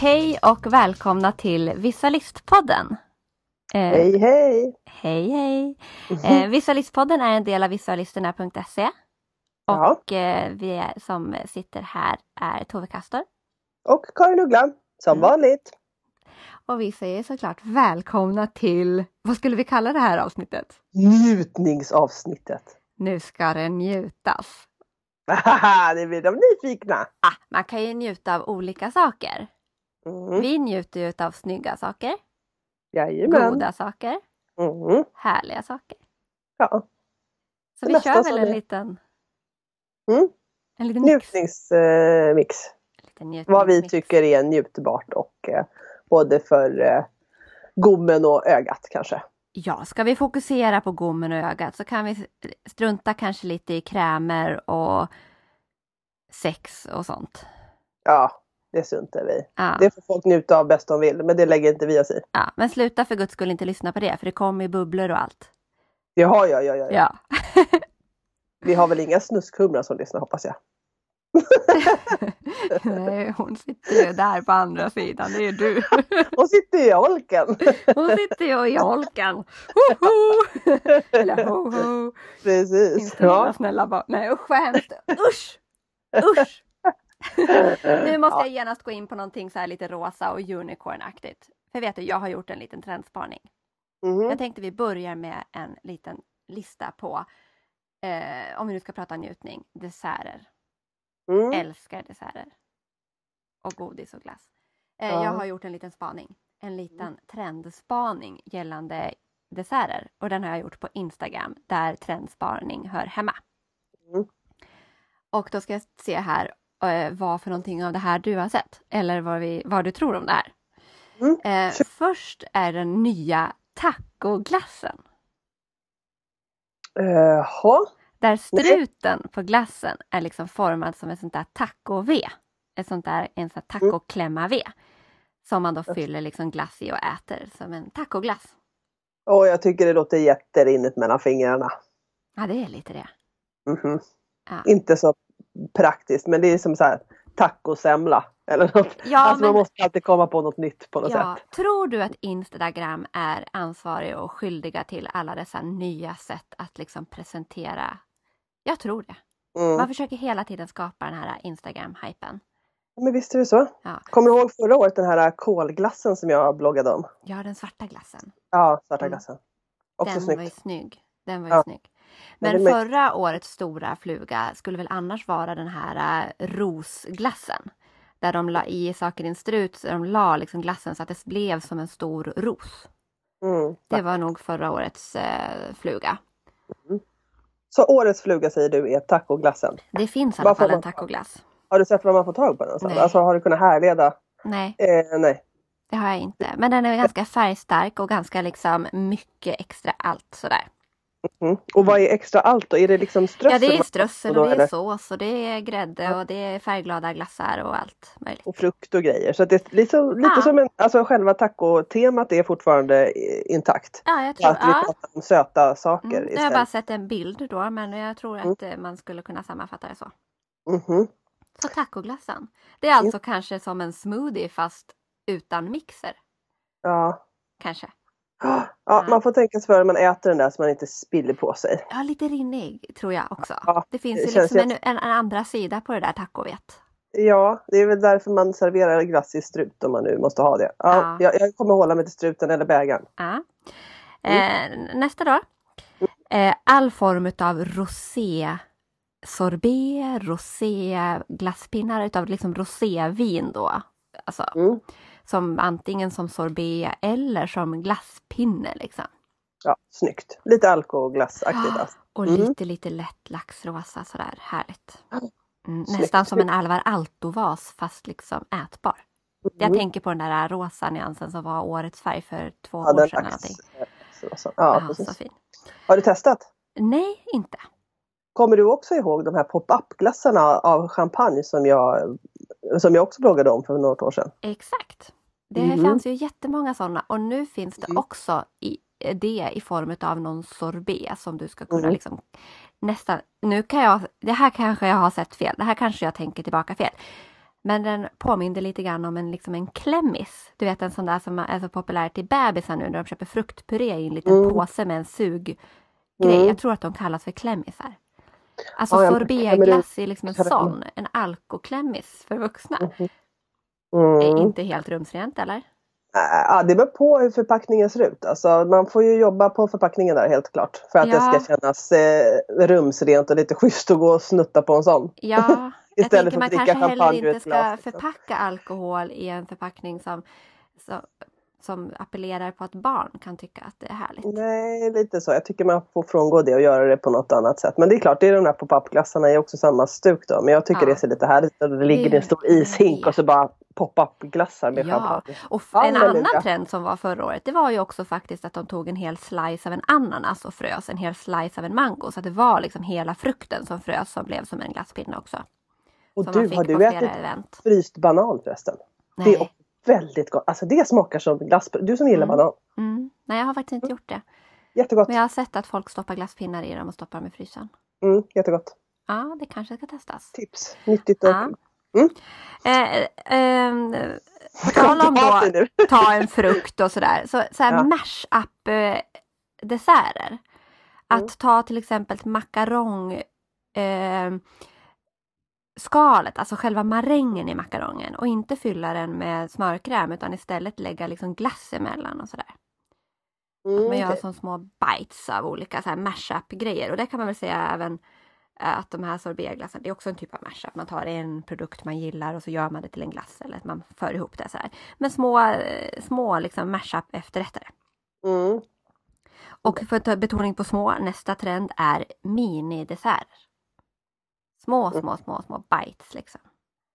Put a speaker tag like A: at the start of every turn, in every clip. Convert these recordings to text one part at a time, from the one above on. A: Hej och välkomna till Visualistpodden. Eh,
B: Hej hej!
A: Hej hej! Eh, Visualistpodden är en del av visualisterna.se
B: Ja,
A: och eh, vi är, som sitter här är Tove Kastor
B: och Karin Uggla, som
A: Mm.
B: vanligt.
A: och vi säger såklart välkomna till, vad skulle vi kalla det här avsnittet?
B: Njutningsavsnittet.
A: Nu ska det njutas.
B: Haha, det blir de nyfikna!
A: Ah, man kan ju njuta av olika saker.
B: Mm.
A: Vi njuter ju av snygga saker,
B: Jajamän.
A: goda saker,
B: Mm.
A: härliga saker.
B: Ja.
A: Så
B: Det
A: vi
B: mesta
A: kör
B: som
A: väl en
B: är-
A: liten...
B: Mm.
A: En liten mix.
B: Njutningsmix.
A: Liten njutning,
B: Vad vi
A: mix.
B: tycker är njutbart och eh, både för eh, gommen och ögat kanske.
A: Ja, ska vi fokusera på gommen och ögat så kan vi strunta kanske lite i krämer och sex och sånt.
B: Ja, det synte vi.
A: Ja,
B: Det får folk njuta av bäst de vill, men det lägger inte vi oss i.
A: ja. Men sluta för guds skull inte lyssna på det, för det kommer ju bubblor och allt.
B: Jaha, ja, ja, ja, ja.
A: Ja,
B: Vi har väl inga snuskhumrar som lyssnar hoppas jag.
A: Nej, hon sitter ju där på andra sidan, det är ju du.
B: Och sitter i holken!
A: Hon sitter ju i holken. Ho, ho. Eller ho, ho.
B: Precis.
A: Finns det några
B: Ja.
A: snälla barn? Nej usch vad hemskt! Usch! Usch! Nu måste jag genast gå in på någonting så här lite rosa och unicornaktigt. För vet du, jag har gjort en liten trendspaning.
B: Mhm.
A: Jag tänkte vi börjar med en liten lista på, eh, om vi nu ska prata njutning, desserter.
B: Mm.
A: Älskar desserter. Och godis och glass. Eh,
B: Ja.
A: Jag har gjort en liten spaning. En liten trendspaning gällande desserter. Och den har jag gjort på Instagram där trendspaning hör hemma.
B: Mm.
A: Och då ska jag se här eh, vad för någonting av det här du har sett. Eller vad, vi, vad du tror om det här.
B: Mm.
A: Eh, först är den nya tacoglassen.
B: Jaha,
A: Där struten på glassen är liksom formad som ett sånt där taco-V. Ett sånt där, en sån
B: Mm.
A: här tacoklämma-V. Som man då fyller liksom glass i och äter som en tacoglass.
B: och jag tycker det låter jätterinnigt mellan fingrarna.
A: Ja, det är lite det.
B: Mhm.
A: Ja.
B: Inte så praktiskt men det är som så här tacosemla eller något.
A: Ja,
B: alltså
A: men-
B: man måste alltid komma på något nytt på något
A: Ja,
B: sätt.
A: tror du att Instagram är ansvarig och skyldiga till alla dessa nya sätt att liksom presentera? Jag tror det. Man
B: Mm.
A: försöker hela tiden skapa den här Instagram-hypen.
B: Men visst är det så.
A: Ja.
B: Kommer du ihåg förra året den här kolglassen som jag bloggade om?
A: ja, den svarta glassen.
B: Ja, svarta
A: Mm.
B: glassen. Också
A: den var ju
B: snyggt.
A: snygg. Den var ju
B: Ja.
A: snygg.
B: Men
A: Men
B: det är
A: förra årets stora fluga skulle väl annars vara den här eh, rosglassen. Där de la i saker i en strut, så de la liksom glassen så att det blev som en stor ros.
B: Mm.
A: Det var nog förra årets eh, fluga.
B: Så årets fluga säger du är tacoglassen.
A: Det finns i
B: Vad
A: alla
B: får
A: fall en
B: man-
A: tacoglass.
B: Har du sett vad man får tag på den? någonstans?
A: Nej.
B: Alltså har du kunnat härleda?
A: Nej,
B: Eh, nej.
A: det har jag inte. Men den är ganska färgstark och ganska liksom mycket extra allt sådär.
B: Mm. Och vad är extra allt då? Är det liksom strössel?
A: Ja, det är
B: man-
A: strössel
B: då
A: och det är
B: eller?
A: sås och det är grädde och det är färgglada glassar och allt möjligt.
B: och frukt och grejer. Så att det är liksom, lite
A: Ah.
B: som en, alltså själva tacotemat är fortfarande eh, intakt.
A: Ja, jag tror...
B: Att vi
A: Ja.
B: pratar om söta saker
A: Mm, jag har
B: istället. Mm.
A: bara sett en bild då, men jag tror att eh, man skulle kunna sammanfatta det så.
B: Mhm.
A: Så tacoglassen. Det är alltså kanske som en smoothie fast utan mixer.
B: Ja.
A: Kanske.
B: Ah, Ja,
A: Ah.
B: man får tänka sig för när man äter den där så man inte spiller på sig.
A: Ja, lite rinnig tror jag också.
B: Ja,
A: det finns
B: det
A: ju
B: känns
A: liksom en, en, en andra sida på det där tacovet.
B: Ja, det är väl därför man serverar glass i strut om man nu måste ha det. Ja,
A: Ja.
B: Jag, jag kommer hålla mig till struten eller bägaren.
A: Ja.
B: Mm.
A: Eh, nästa då. Eh, all form av rosé sorbet, rosé glasspinnar utav liksom rosévin då. Alltså
B: Mm.
A: som antingen som sorbet eller som glasspinne liksom.
B: Ja, snyggt. Lite alkoglassaktigt
A: Ja,
B: alltså.
A: Och
B: Mm.
A: lite, lite lätt laxrosa sådär härligt. Mm,
B: Snyggt.
A: nästan som en Alvar Aalto-vas fast liksom ätbar. Jag
B: Mm.
A: tänker på den där rosa nyansen som var årets färg för två
B: Ja,
A: år
B: den
A: sedan. eller
B: lax-
A: någonting.
B: så, så. Ja,
A: Ja, så
B: precis.
A: fin.
B: Har du testat?
A: Nej, inte.
B: Kommer du också ihåg de här pop-up-glassarna av champagne som jag, som jag också bloggade om för något år sedan?
A: Exakt. Det
B: Mhm.
A: fanns ju jättemånga sådana och nu finns det
B: Mm.
A: också i, eh, det i form av någon sorbet som du ska kunna
B: Mm.
A: liksom nästan. Nu kan jag, det här kanske jag har sett fel, det här kanske jag tänker tillbaka fel. Men den påminner lite grann om en, liksom en klämmis. Du vet en sån där som är så populär till bebisar nu när de köper fruktpuré i en liten
B: Mm.
A: påse med en suggrej.
B: Mm.
A: Jag tror att de kallas för klämmisar. Alltså
B: Ja, jag-
A: sorbetglass är liksom en
B: jag vet inte.
A: sån, en alkoklämmis för vuxna. Är
B: Mm. Äh,
A: inte helt rumsrent eller?
B: Ja, det beror på hur förpackningen ser ut. Alltså, man får ju jobba på förpackningen där helt klart. För att
A: Ja.
B: det ska kännas eh, rumsrent och lite schysst att gå och snutta på en sån.
A: Ja, jag tänker
B: Istället för att
A: man
B: dricka
A: kanske heller
B: champagne ur
A: inte
B: ett glas,
A: ska
B: liksom.
A: förpacka alkohol i en förpackning som, som, som appellerar på att barn kan tycka att det är härligt.
B: Nej, lite så. Jag tycker man får frångå det och göra det på något annat sätt. Men det är klart, det är de där pop-up-glassarna är också samma stuk då. Men jag tycker
A: Ja.
B: det ser lite härligt ut. Det ligger i en stor
A: Det-
B: ishink och så bara pop-up-glassar med
A: Ja.
B: champagne.
A: Och f- en
B: Halleluja.
A: annan trend som var förra året, det var ju också faktiskt att de tog en hel slice av en ananas och frös en hel slice av en mango. Så att det var liksom hela frukten som frös som blev som en glasspinne också.
B: Och
A: som
B: du, har du ätit
A: event.
B: fryst banan förresten? Det är
A: Nej.
B: också väldigt gott. Alltså det smakar som glass. Du som gillar
A: Mm.
B: banan.
A: Mm. Nej, jag har faktiskt inte gjort det.
B: Jättegott.
A: Men jag har sett att folk stoppar glasspinnar i dem och stoppar dem i frysen.
B: Mm, jättegott.
A: Ja, det kanske ska testas.
B: Tips. Nyttigt och...
A: Ja.
B: Mm.
A: Eh, ehm, på tal om
B: Ta
A: då
B: sig nu.
A: ta en frukt och sådär. Så, så här
B: Ja.
A: mash-up eh, desserter. Att
B: Mm.
A: ta till exempel makarong eh, skalet, alltså själva marängen i makarongen och inte fylla den med smörkräm utan istället lägga liksom glass emellan och sådär.
B: Mm,
A: Man gör
B: okej.
A: som små bites av olika så här mash-up grejer och det kan man väl säga även eh, att de här sorbetglassarna, det är också en typ av mashup. Man tar en produkt man gillar och så gör man det till en glass eller att man för ihop det så här. Men små, eh, små liksom mashup efterrätter.
B: Mm.
A: Och för att ta betoning på små, nästa trend är minidesserter. Små,
B: Mm.
A: små, små, små bites liksom.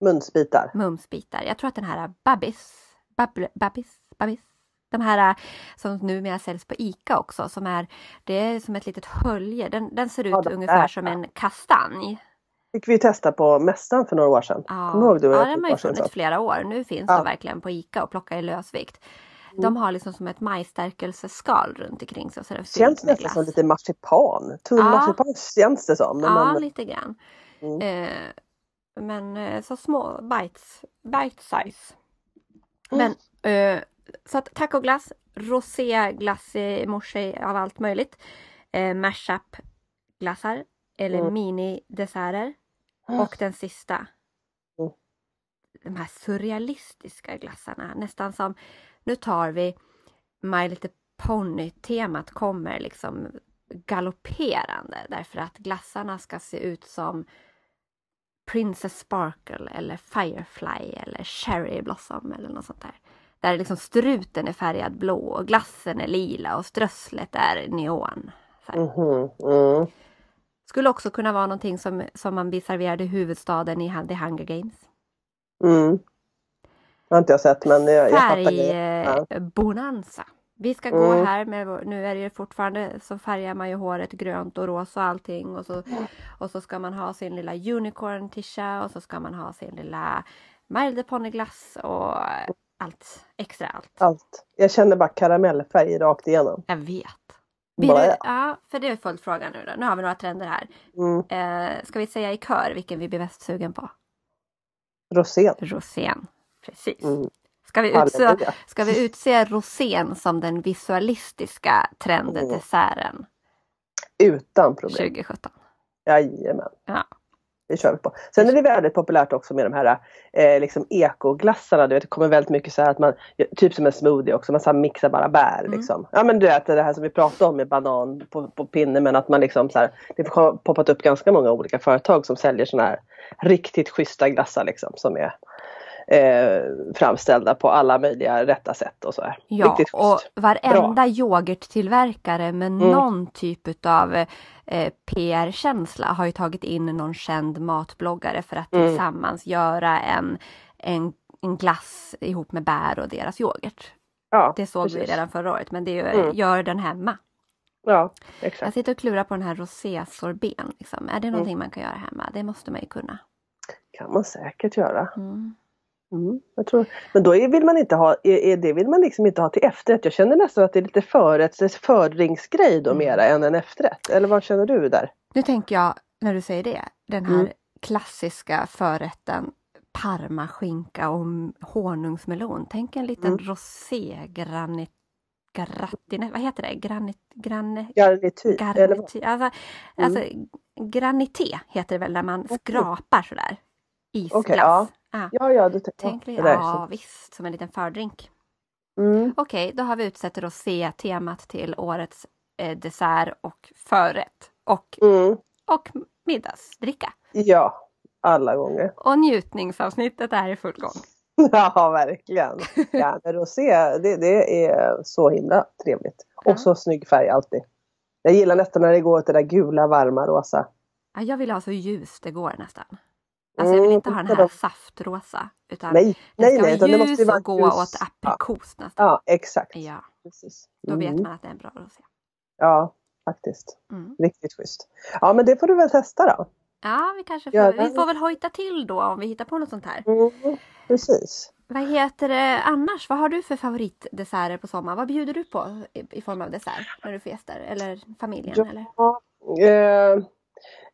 B: Munsbitar.
A: Mumsbitar. Jag tror att den här äh, Babbis, babbl- Babbis, Babbis. De här eh, som numera säljs på ICA också som är, det är som ett litet hölje. Den, den ser ut
B: Ja, de
A: ungefär
B: där,
A: som
B: ja.
A: en kastanj.
B: fick vi testa på mässan för några år sedan.
A: Ja,
B: Kommer du ihåg det?
A: ja
B: var
A: den
B: ett
A: har
B: år
A: ju
B: sedan,
A: funnits
B: så?
A: flera år. Nu finns
B: Ja.
A: de verkligen på ICA och plockar i lösvikt.
B: Mm.
A: De har liksom som ett majsstärkelseskal runt omkring sig. och Så är den fylld
B: Känns
A: med
B: nästan som
A: glass.
B: lite marsipan. Tunn
A: Ja.
B: marsipan känns det som. när
A: Ja,
B: man-
A: lite grann.
B: Mm.
A: Eh, men eh, så små bites, bite size.
B: Mm.
A: Men eh, så att tacoglass, roséglass i morse av allt möjligt. Eh, mashup glassar eller
B: Mm.
A: minidesserter.
B: Mm.
A: Och den sista.
B: Mm.
A: De här surrealistiska glassarna. Nästan som nu tar vi My Little Pony temat kommer liksom galopperande därför att glassarna ska se ut som Princess Sparkle eller Firefly eller Cherry Blossom eller något sånt där. Där liksom struten är färgad blå och glassen är lila och strösslet är neon.
B: Mhm, mm.
A: Skulle också kunna vara någonting som, som man blir serverad i huvudstaden i Hun- The Hunger Games.
B: Mm. Det har inte jag sett men eh, jag, jag fattar grejen. Ja.
A: Färgbonanza. eh, Vi ska gå
B: Mm.
A: här med, vår- nu är det ju fortfarande så färgar man ju håret grönt och rosa och allting och så, och så ska man ha sin lilla unicorn tisha och så ska man ha sin lilla My Little Pony glass och allt extra allt.
B: Allt. Jag känner bara karamellfärg rakt igenom.
A: Jag vet. Blir
B: Bara,
A: det,
B: ja.
A: ja, för det är följdfrågan nu då. Nu har vi några trender här.
B: mm.
A: Eh, ska vi säga i kör vilken vi blir mest sugen på?
B: Rosén.
A: Rosén. Precis.
B: Mm.
A: Ska vi utse,
B: Halleluja.
A: ska vi utse rosén som den visualistiska trenden
B: Mm.
A: desserten
B: Utan problem.
A: 2017?
B: Jajamän.
A: Ja.
B: Det kör vi på. Sen är det väldigt populärt också med de här eh, liksom ekoglassarna. Du vet, det kommer väldigt mycket så här att man, typ som en smoothie också, man så här mixar bara bär.
A: Mm.
B: Liksom. Ja men du vet det här som vi pratade om med banan på, på pinne men att man liksom så här, det har poppat upp ganska många olika företag som säljer sådana här riktigt schyssta glassar liksom som är eh, framställda på alla möjliga rätta sätt och så här.
A: Ja,
B: riktigt
A: och
B: schysst. Mm.
A: varenda yoghurttillverkare med någon typ utav eh, PR-känsla har ju tagit in någon känd matbloggare för att
B: Mm.
A: tillsammans göra en, en, en glass ihop med bär och deras yoghurt.
B: Ja,
A: Det såg vi
B: precis.
A: redan förra året men det är ju,
B: Mm.
A: gör den hemma.
B: Ja,
A: Jag
B: exakt.
A: sitter och klurar på den här rosésorbeten. Liksom.
B: Mm.
A: Är det någonting man kan göra hemma? Det måste man ju kunna.
B: kan man säkert göra.
A: Mm.
B: Mm, jag tror. Men då är, vill man inte ha, är, är, det vill man liksom inte ha till efterrätt. Jag känner nästan att det är lite förrätts, förringsgrej
A: Mm.
B: då mera än en efterrätt. Eller vad känner du där?
A: Nu tänker jag, när du säger det, den här
B: Mm.
A: klassiska förrätten parmaskinka och honungsmelon. Tänk en
B: Mm.
A: liten rosé granit gratine, vad heter det? Granit, granne,
B: Garnityr. typ. eller vad? Mm.
A: garnity, alltså, alltså granité heter det väl när man skrapar sådär. Isglass.
B: Okej, ja.
A: Ja.
B: Ja, ja, du tänker
A: Tänk,
B: det där.
A: ja visst, som en liten fördrink.
B: Mm.
A: Okej, då har vi utsett rosé-temat till årets eh, dessert och förrätt och,
B: Mm.
A: och middagsdricka.
B: Ja, alla gånger.
A: Och njutningsavsnittet är i full gång.
B: Ja, verkligen. Ja, men rosé, det, det är så himla trevligt.
A: Ja.
B: Och så snygg färg alltid. Jag gillar nästan när det går åt det där gula, varma, rosa.
A: Ja, jag vill ha så ljust det går nästan. Alltså jag vill inte ha den här
B: Mm.
A: saftrosa. Utan
B: Nej,
A: den ska
B: nej, nej.
A: vara
B: utan
A: ljus
B: det måste ju vara
A: och gå
B: ljus.
A: åt aprikos nästan.
B: Ja, exakt.
A: Ja,
B: Precis.
A: då vet
B: Mm.
A: man att det är en bra rosé.
B: Ja, faktiskt.
A: Mm.
B: Riktigt schysst. Ja, men det får du väl testa då.
A: Ja, vi kanske
B: Ja,
A: får, vi
B: den-
A: får väl hojta till då om vi hittar på något sånt här.
B: Mm. Precis.
A: Vad heter det annars? Vad har du för favoritdesserter på sommaren? Vad bjuder du på i, i form av dessert när du får gäster eller familjen?
B: Ja.
A: Eller?
B: Ja, eh,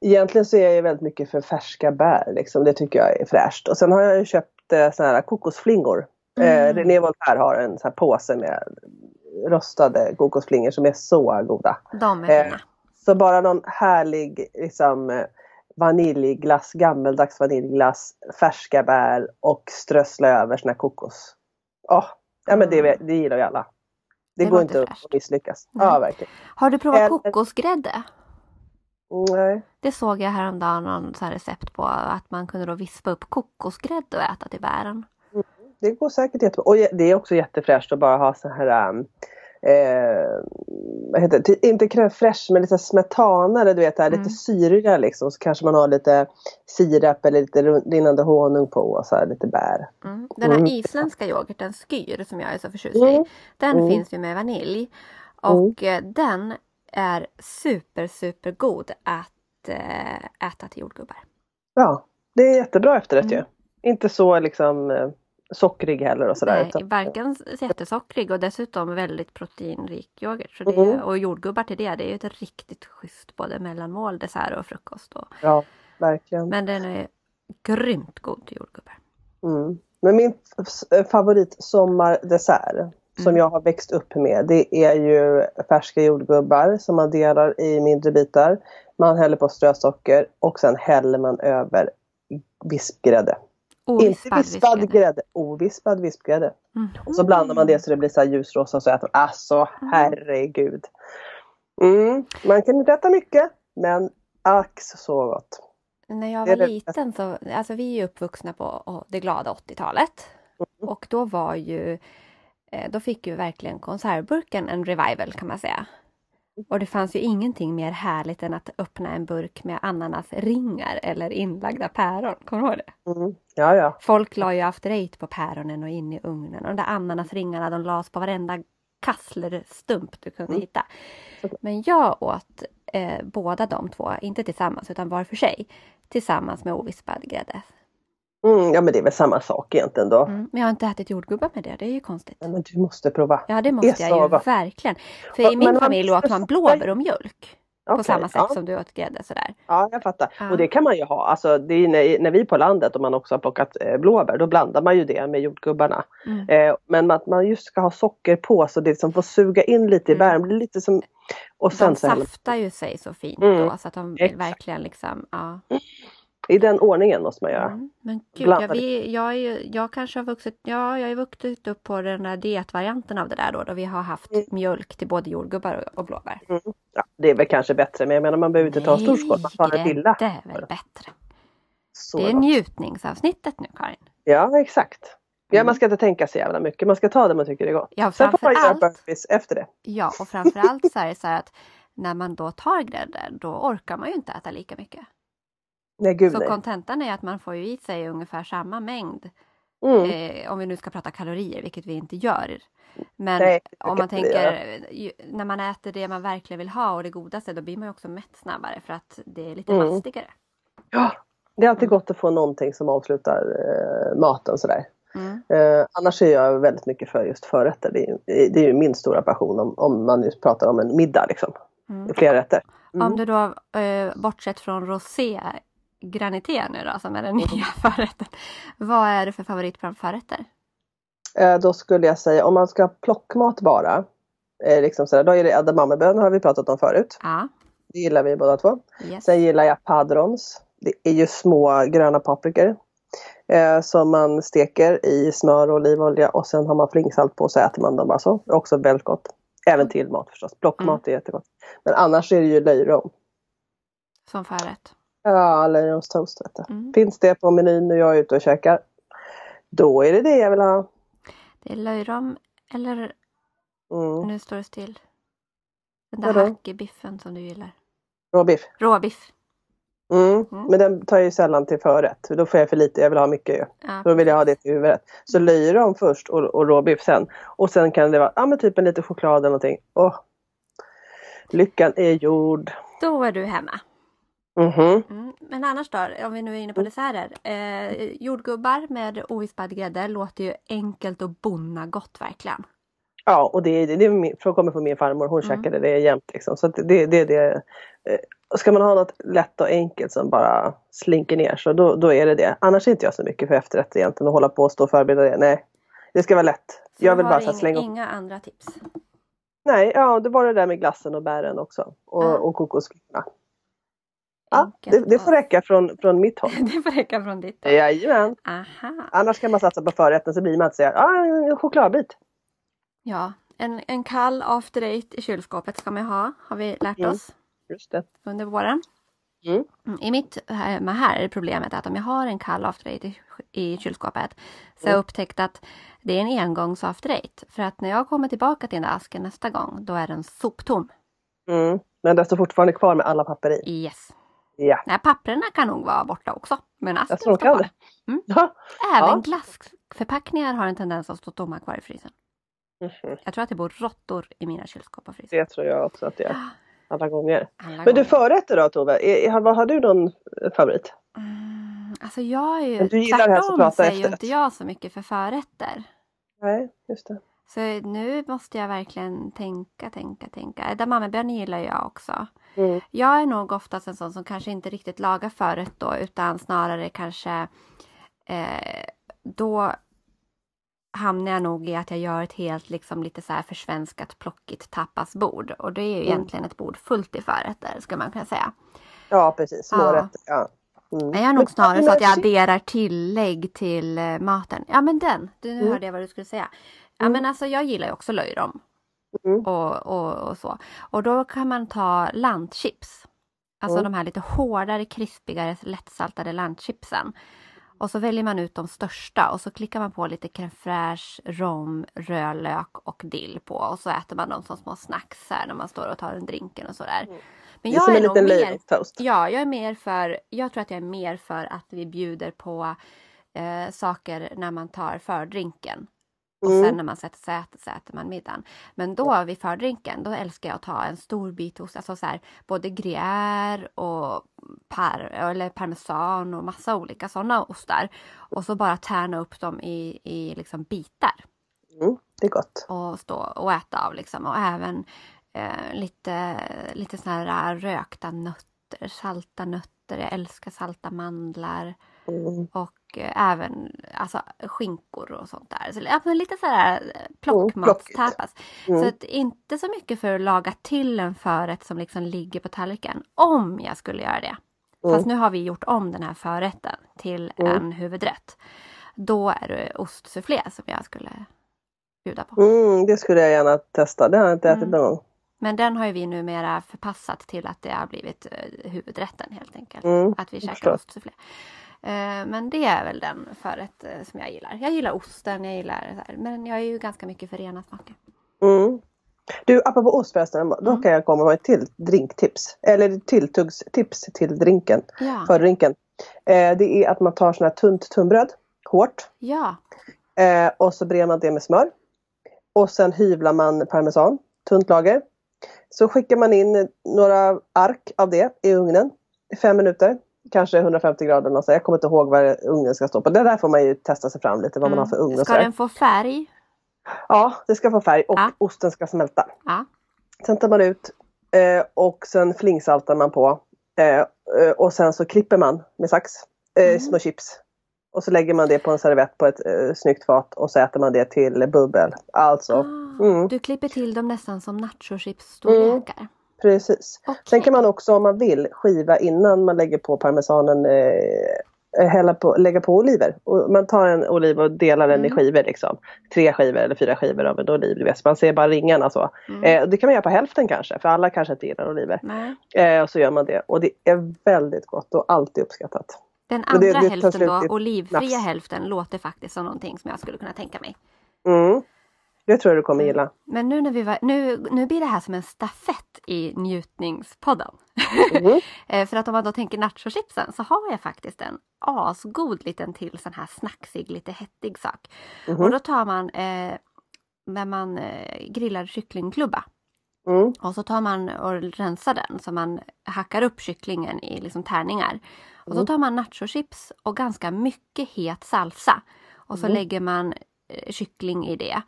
B: egentligen så är jag ju väldigt mycket för färska bär. Liksom. Det tycker jag är fräscht. Och sen har jag ju köpt eh, såna här kokosflingor.
A: Mm.
B: Eh, René Voltaire har en sån här påse med rostade kokosflingor som är så goda.
A: De är
B: Eh,
A: fina.
B: Så bara någon härlig liksom, eh, vaniljglass, gammeldags vaniljglass, färska bär och strössla över såna här kokos. Åh, ja, men det,
A: Mm.
B: det gillar ju alla. Det,
A: Det
B: går
A: låter
B: inte
A: fräscht. Mm.
B: att misslyckas.
A: Nej.
B: Ja, verkligen.
A: Har du provat
B: eller-
A: kokosgrädde?
B: Nej.
A: Det såg jag häromdagen någon så här recept på att man kunde då vispa upp kokosgrädde och äta till bären.
B: Det går säkert jättebra. Och jä- det är också jättefräscht att bara ha så här um, Eh, vad heter det? Ty- Inte crème fraîche men lite smetanare du vet, här,
A: Mm.
B: lite syriga liksom. Så kanske man har lite sirap eller lite run- rinnande honung på och så här, lite bär.
A: Mm. Den här
B: Mm.
A: isländska yoghurten Skyr som jag är så förtjust
B: Mm.
A: i. Den
B: Mm.
A: finns ju med vanilj. Och eh, den är super super god att eh, äta till jordgubbar.
B: Ja, det är jättebra efterrätt
A: Mm.
B: ju. Inte så liksom eh, sockrig heller och sådär.
A: Nej,
B: utan-
A: Eh,
B: eh,
A: varken s- jättesockrig och dessutom väldigt proteinrik yoghurt. Så det,
B: Mm.
A: Och jordgubbar till det, det är ju ett riktigt schysst både mellanmål, dessert och frukost. Och,
B: Ja, verkligen.
A: men den är grymt god till jordgubbar.
B: Mm. Men min f- favorit sommardessert
A: Mm.
B: som jag har växt upp med det är ju färska jordgubbar som man delar i mindre bitar. Man häller på strösocker och sen häller man över vispgrädde. Inte vispad grädde, ovispad vispgrädde. Och så blandar man det så det blir så här ljusrosa så äter man. Alltså herregud! Mm. Man kan inte äta mycket men ack så gott.
A: Mm. När jag
B: Det är
A: var
B: det bästa.
A: liten så, alltså vi är ju uppvuxna på å- det glada 80-talet.
B: Mm.
A: Och då var ju, eh, då fick ju verkligen konservburken en revival kan man säga.
B: Mm.
A: Och det fanns ju ingenting mer härligt än att öppna en burk med ananasringar eller inlagda päron. Kommer du ihåg det?
B: Mm. Ja, ja.
A: Folk la ju after eight på päronen och in i ugnen. Och de där ananasringarna de las på varenda kasslerstump du
B: Mm.
A: kunde hitta. Men jag åt eh, båda de två, inte tillsammans utan var för sig, tillsammans med ovispad grädde.
B: Mm. Ja men det är väl samma sak egentligen då.
A: Mm. Men jag har inte ätit jordgubbar med det, det är ju konstigt.
B: Nej, men du måste prova.
A: Ja, det måste
B: Det är
A: jag ju
B: så va?
A: verkligen. För
B: Ja,
A: i
B: men
A: min
B: man-
A: familj åt man blåbär och mjölk. På
B: Okej,
A: samma sätt
B: ja.
A: som du åt grädde sådär.
B: Ja, jag fattar.
A: Ja.
B: Och det kan man ju ha. Alltså, det är när, när vi är på landet och man också har plockat eh, blåbär, då blandar man ju det med jordgubbarna.
A: Mm.
B: Eh, men att man just ska ha socker på så det liksom får suga in lite i
A: Mm.
B: bären. blir Lite som... Och sen
A: De
B: så häller-
A: saftar ju sig så fint
B: Mm,
A: då så att de
B: exakt.
A: verkligen liksom, ja.
B: I den ordningen måste man göra.
A: Mm. Men gud,
B: Blandar
A: jag, vi, jag, är ju, jag kanske har vuxit, ja, jag har ju vuxit upp på den där dietvarianten av det där då, då vi har haft
B: Mm.
A: mjölk till både jordgubbar och, och blåbär.
B: Ja, det är väl kanske bättre, men jag menar man behöver inte ta en stor skål, man tar en lilla.
A: det är väl bättre.
B: Så
A: det är
B: gott.
A: njutningsavsnittet nu Karin.
B: Ja, exakt. Ja,
A: Mm.
B: man ska inte tänka så jävla mycket, man ska ta det man tycker är gott.
A: Ja,
B: Sen får man göra
A: framförallt-
B: burpees efter det.
A: Ja, och framförallt så är det så här att när man då tar grädde, då orkar man ju inte äta lika mycket.
B: Nej, gud
A: Så
B: nej.
A: kontentan är att man får ju i sig ungefär samma mängd,
B: Mm.
A: eh, om vi nu ska prata kalorier, vilket vi inte gör. Men
B: Nej,
A: om man
B: vilket vi
A: tänker, eh,
B: gör.
A: ju, när man äter det man verkligen vill ha och det godaste, då blir man ju också mätt snabbare för att det är lite
B: Mm.
A: mastigare.
B: Ja, det är alltid gott att få någonting som avslutar eh, maten sådär.
A: Mm.
B: Eh, annars är jag väldigt mycket för just förrätter. Det är, ju- det är ju min stora passion om, om man nu pratar om en middag liksom.
A: Mm.
B: Flera rätter. Mm.
A: Om du då, eh, bortsett från rosé, granité nu då, som är den
B: Mm.
A: nya förrätten. Vad är det för favorit bland förrätter?
B: Eh, då skulle jag säga om man ska ha plockmat bara, eh, liksom sådär, då är det edamamebönor har vi pratat om förut.
A: Ja,
B: Det gillar vi båda två.
A: yes.
B: Sen gillar jag padrons. Det är ju små gröna paprikor eh, som man steker i smör och olivolja och sen har man flingsalt på och så äter man dem bara så. Också väldigt gott. Även till mat förstås. Plockmat är jättegott. Men annars är det ju löjrom.
A: som förrätt.
B: Ja, löjromstoast vet du.
A: Mm.
B: Finns det på menyn när jag är ute och käkar, då är det det jag vill ha.
A: Det är löjrom eller
B: Mm.
A: nu står det still. Den där
B: Vadå?
A: hackebiffen som du gillar.
B: Råbiff.
A: Råbiff.
B: Mm.
A: Mm.
B: Men den tar jag ju sällan till förrätt. Då får jag för lite, jag vill ha mycket ju.
A: Ja,
B: Då vill jag ha det till huvudrätt. Så löjrom först och, och råbiff sen. Och sen kan det vara ja, men typ en liten choklad eller någonting. Åh. Lyckan är gjord.
A: då är du hemma.
B: Mhm.
A: Mm. Men annars då, om vi nu är inne
B: Mm.
A: på desserter. Eh, jordgubbar med ovispad grädde låter ju enkelt och bonna gott verkligen.
B: Ja, och det, är- det är min, för kommer från min farmor. Hon
A: Mm.
B: käkade det jämt. Liksom. Så att det, det, det, eh, ska man ha något lätt och enkelt som bara slinker ner så då, då är det det. Annars är inte jag så mycket för efterrätt egentligen och hålla på och stå och förbereda det. Nej, det ska vara lätt.
A: Så
B: jag
A: du
B: vill
A: har
B: bara så här
A: ing-
B: slänga upp
A: Inga andra tips.
B: Nej, ja det var det där med glassen och bären också. Och,
A: Ah.
B: och kokosfrukterna. Ja, det,
A: Enkelt
B: det får
A: och-
B: räcka från, från mitt håll.
A: det får räcka från ditt. då.
B: Jajamän.
A: Aha.
B: Annars kan man satsa på förrätten så blir man att säga ah, en chokladbit.
A: Ja, en, en kall after eight i kylskåpet ska man ju ha, har vi lärt
B: Mm.
A: oss
B: Just det.
A: under våren.
B: Mm.
A: Mm, I mitt hemma här är problemet att om jag har en kall after eight i, i kylskåpet så har
B: Mm.
A: jag upptäckt att det är en engångs after eight. För att när jag kommer tillbaka till den där asken nästa gång, då är den soptom.
B: Mm. Men den står fortfarande kvar med alla papper i.
A: Yes.
B: Ja,
A: Nej, papperna kan nog vara borta också, men asken
B: jag tror
A: står
B: de kan
A: kvar.
B: det. Ja.
A: Även
B: Ja.
A: glassförpackningar har en tendens att stå tomma kvar i frysen.
B: Mhm.
A: Jag tror att det bor råttor i mina kylskåp och frys.
B: Det tror jag också att det är. Alla gånger.
A: Alla
B: Men du
A: gånger.
B: förrätter då Tove, är, är, har, vad har du någon eh, favorit?
A: Mm, alltså jag är ju...
B: Men du gillar det här
A: tvärtom
B: som pratar
A: säger ju
B: efterrätt.
A: inte jag så mycket för förrätter.
B: Nej, just det.
A: Så nu måste jag verkligen tänka, tänka, tänka. Edamamebönor gillar jag också.
B: Mm.
A: Jag är nog oftast en sån som kanske inte riktigt lagar förrätt då utan snarare kanske eh, då hamnar jag nog i att jag gör ett helt liksom lite så här försvenskat plockigt tapasbord. Och det är ju
B: Mm.
A: egentligen ett bord fullt i förrätter skulle man kunna säga.
B: Ja, precis.
A: Ja.
B: Smårätter. Ja. Mm.
A: Men jag är
B: Men-
A: nog snarare så
B: men-
A: att jag adderar tillägg till eh, maten. Ja men den, du, nu
B: Mm.
A: hörde jag vad du skulle säga. Ja
B: Mm.
A: men alltså jag gillar ju också löjrom.
B: Mm.
A: Och, och, och så. Och då kan man ta lantchips. Alltså
B: Mm.
A: de här lite hårdare, krispigare, lättsaltade lantchipsen. Och så väljer man ut de största och så klickar man på lite crème fraîche, rom, rödlök och dill på. Och så äter man dem som små snacks här när man står och tar en drinken och sådär.
B: Mm.
A: Men
B: Det är som
A: jag är
B: en
A: nog
B: liten
A: mer
B: löjromstoast.
A: Ja, jag är mer för, jag tror att jag är mer för att vi bjuder på eh, saker när man tar fördrinken. Och
B: Mm.
A: sen när man sätter sig och äter så äter man middagen. Men då vid fördrinken, då älskar jag att ta en stor bit ost, alltså så här, både gruyère och par, eller parmesan och massa olika sådana ostar. Och så bara tärna upp dem i, i liksom bitar
B: Mm. Det är gott.
A: och stå och äta av liksom. Och även eh, lite, lite såna här eh, rökta nötter, salta nötter. Jag älskar salta mandlar
B: Mm.
A: och eh, även alltså, skinkor och sånt där. Så, ja, men lite så här eh,
B: plockigt.
A: plockmatstapas.
B: Mm.
A: Så att inte så mycket för att laga till en förrätt som liksom ligger på tallriken. Om jag skulle göra det. Fast
B: Mm.
A: nu har vi gjort om den här förrätten till
B: Mm.
A: en huvudrätt. Då är det ostsufflé som jag skulle bjuda på.
B: Mm, det skulle jag gärna testa. Det har jag inte ätit
A: Mm.
B: någon gång.
A: Men den har ju vi numera förpassat till att det har blivit eh, huvudrätten helt enkelt.
B: Mm,
A: Att vi
B: jag
A: käkar
B: förstår.
A: ostsufflé. Eh, Men det är väl den förrätt eh, som jag gillar. Jag gillar osten, jag gillar så här, men jag är ju ganska mycket för rena smaker.
B: Mm. Du, apropå ost förresten, då
A: Mm.
B: kan jag komma med ett till drinktips. Eller tilltuggstips till drinken,
A: Ja,
B: fördrinken. Eh, det är att man tar sån här tunt tunnbröd, hårt,
A: ja.
B: eh, och så brer man det med smör. Och sen hyvlar man parmesan, tunt lager. Så skickar man in några ark av det i ugnen i fem minuter. Kanske 150 grader någonstans. Jag kommer inte ihåg vad ugnen ska stå på. Det där får man ju testa sig fram lite vad man har för ugn och
A: Mm. Ska
B: sådär.
A: den få färg?
B: Ja, det ska få färg och
A: Ja.
B: osten ska smälta.
A: Ja.
B: Sen tar man ut eh, och sen flingsaltar man på Eh, eh, och sen så klipper man med sax eh,
A: Mm.
B: små chips. Och så lägger man det på en servett på ett eh, snyggt fat och så äter man det till bubbel. Alltså,
A: Ah,
B: mm.
A: Du klipper till dem nästan som nachochips-storlekar.
B: precis.
A: Okej.
B: Sen kan man också om man vill skiva innan man lägger på parmesanen, eh, hälla på, lägga på oliver. Och man tar en oliv och delar den i
A: Mm.
B: skivor. Liksom. Tre skivor eller fyra skivor av en oliv. du vet. Så Man ser bara ringarna så.
A: Mm.
B: Eh, och det kan man göra på hälften kanske, för alla kanske inte gillar oliver.
A: Nej.
B: Eh, och så gör man det och det är väldigt gott och alltid uppskattat.
A: Den
B: Men
A: andra
B: det- det tar
A: hälften
B: slut
A: då,
B: i ett
A: olivfria
B: nafs.
A: hälften, låter faktiskt som någonting som jag skulle kunna tänka mig.
B: Mm. Det tror jag du kommer gilla.
A: Men nu, när vi var, nu, nu blir det här som en stafett i njutningspodden.
B: Mhm.
A: Eh, För att om man då tänker nachochipsen så har jag faktiskt en asgod liten till sån här snacksig, lite hettig sak.
B: Mhm.
A: Och då tar man eh, när man eh, grillar kycklingklubba
B: Mm.
A: och så tar man och rensar den så man hackar upp kycklingen i liksom tärningar. Och så
B: Mm.
A: tar man nachochips och ganska mycket het salsa och så
B: Mm.
A: lägger man eh, kyckling i det.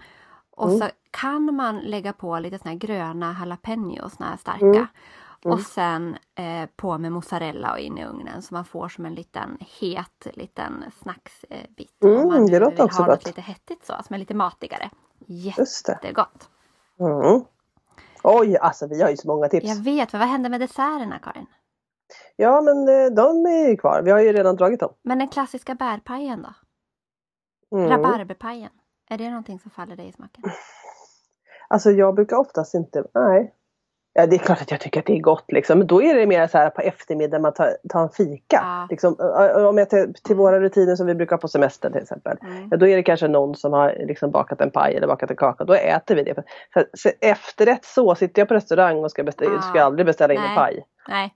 A: Och
B: Mm.
A: så kan man lägga på lite såna här gröna jalapeno, såna här starka.
B: Mm. Mm.
A: Och sen eh, på med mozzarella och in i ugnen så man får som en liten het liten snacksbit. Eh, bit. Om
B: Mm,
A: man
B: det
A: nu
B: låter
A: vill
B: också
A: ha något
B: gott.
A: lite hettigt så, som är lite matigare. Jättegott!
B: Just det. Mm. Oj, alltså vi har ju så många tips.
A: Jag vet, men vad hände med desserterna Karin?
B: Ja, men eh, de är ju kvar. Vi har ju redan dragit dem.
A: Men den klassiska bärpajen då?
B: Mm.
A: Rabarberpajen? Är det någonting som faller dig i smaken?
B: Alltså jag brukar oftast inte, nej. Ja, det är klart att jag tycker att det är gott liksom. Men då är det mer så här på eftermiddagen man tar, tar en fika.
A: Ja.
B: Liksom, ö- ö- om jag till, till våra rutiner som vi brukar ha på semestern till exempel.
A: Mm.
B: Ja, då är det kanske någon som har liksom bakat en paj eller bakat en kaka. Då äter vi det. För, för, så efterrätt så, sitter jag på restaurang och ska, beställa,
A: Ah.
B: ska jag aldrig beställa in
A: Nej.
B: en paj.
A: Nej,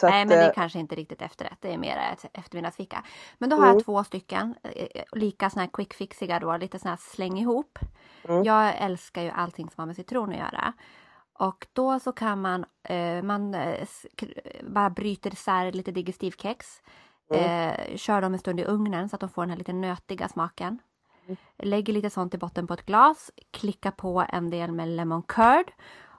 B: Så
A: nej,
B: att,
A: men det
B: eh,
A: är kanske inte riktigt efterrätt. Det är mer ett eftermiddagsfika. Men då har
B: Mm.
A: jag två stycken, eh, eh, lika såna här quick fixiga då, lite såna här släng ihop.
B: Mm.
A: Jag älskar ju allting som har med citron att göra. Och då så kan man, eh, man eh, skr- bara bryter isär lite digestivkex.
B: Mm.
A: Eh, kör dem en stund i ugnen så att de får den här lite nötiga smaken.
B: Mm.
A: Lägger lite sånt i botten på ett glas. Klicka på en del med lemon curd.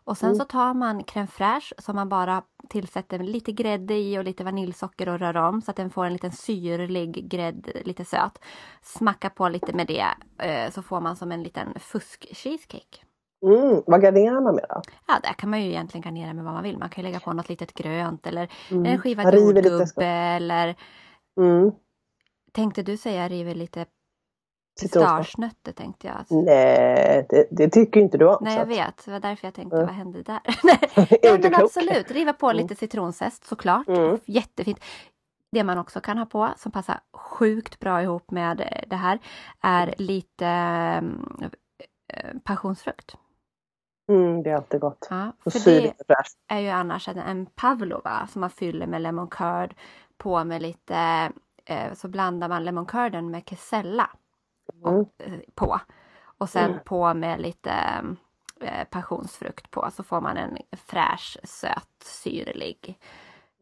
A: Och sen
B: Mm.
A: så tar man crème fraîche som man bara tillsätter lite grädde i och lite vaniljsocker och rör om så att den får en liten syrlig grädd, lite söt. Smacka på lite med det eh, så får man som en liten fusk-cheesecake.
B: mm, vad garnerar man med då?
A: Ja, där kan man ju egentligen garnera med vad man vill. Man kan ju lägga på något litet grönt eller en skiva
B: Mm. Man river lite
A: jordgubbe
B: skott.
A: eller
B: Mm.
A: tänkte du säga river lite
B: Citron.
A: pistagenötter tänkte jag.
B: Mm, Nej, det, det tycker inte du om.
A: Nej
B: så
A: jag
B: att-
A: vet, det var därför jag tänkte
B: Mm.
A: vad hände där? Nej,
B: Är du
A: Nej
B: inte
A: men
B: klok?
A: absolut, riva på
B: Mm.
A: lite citronzest såklart.
B: Mm.
A: Jättefint. Det man också kan ha på som passar sjukt bra ihop med eh, det här är lite mm, eh, passionsfrukt.
B: Mm, det är alltid gott.
A: Ja,
B: Och
A: för det
B: syrligt och fräscht.
A: är ju annars en, en pavlova som man fyller med lemon curd på med lite eh, så blandar man lemon curden med kesella
B: Mm.
A: eh, på och sen
B: Mm.
A: på med lite eh, passionsfrukt på så får man en fräsch, söt, syrlig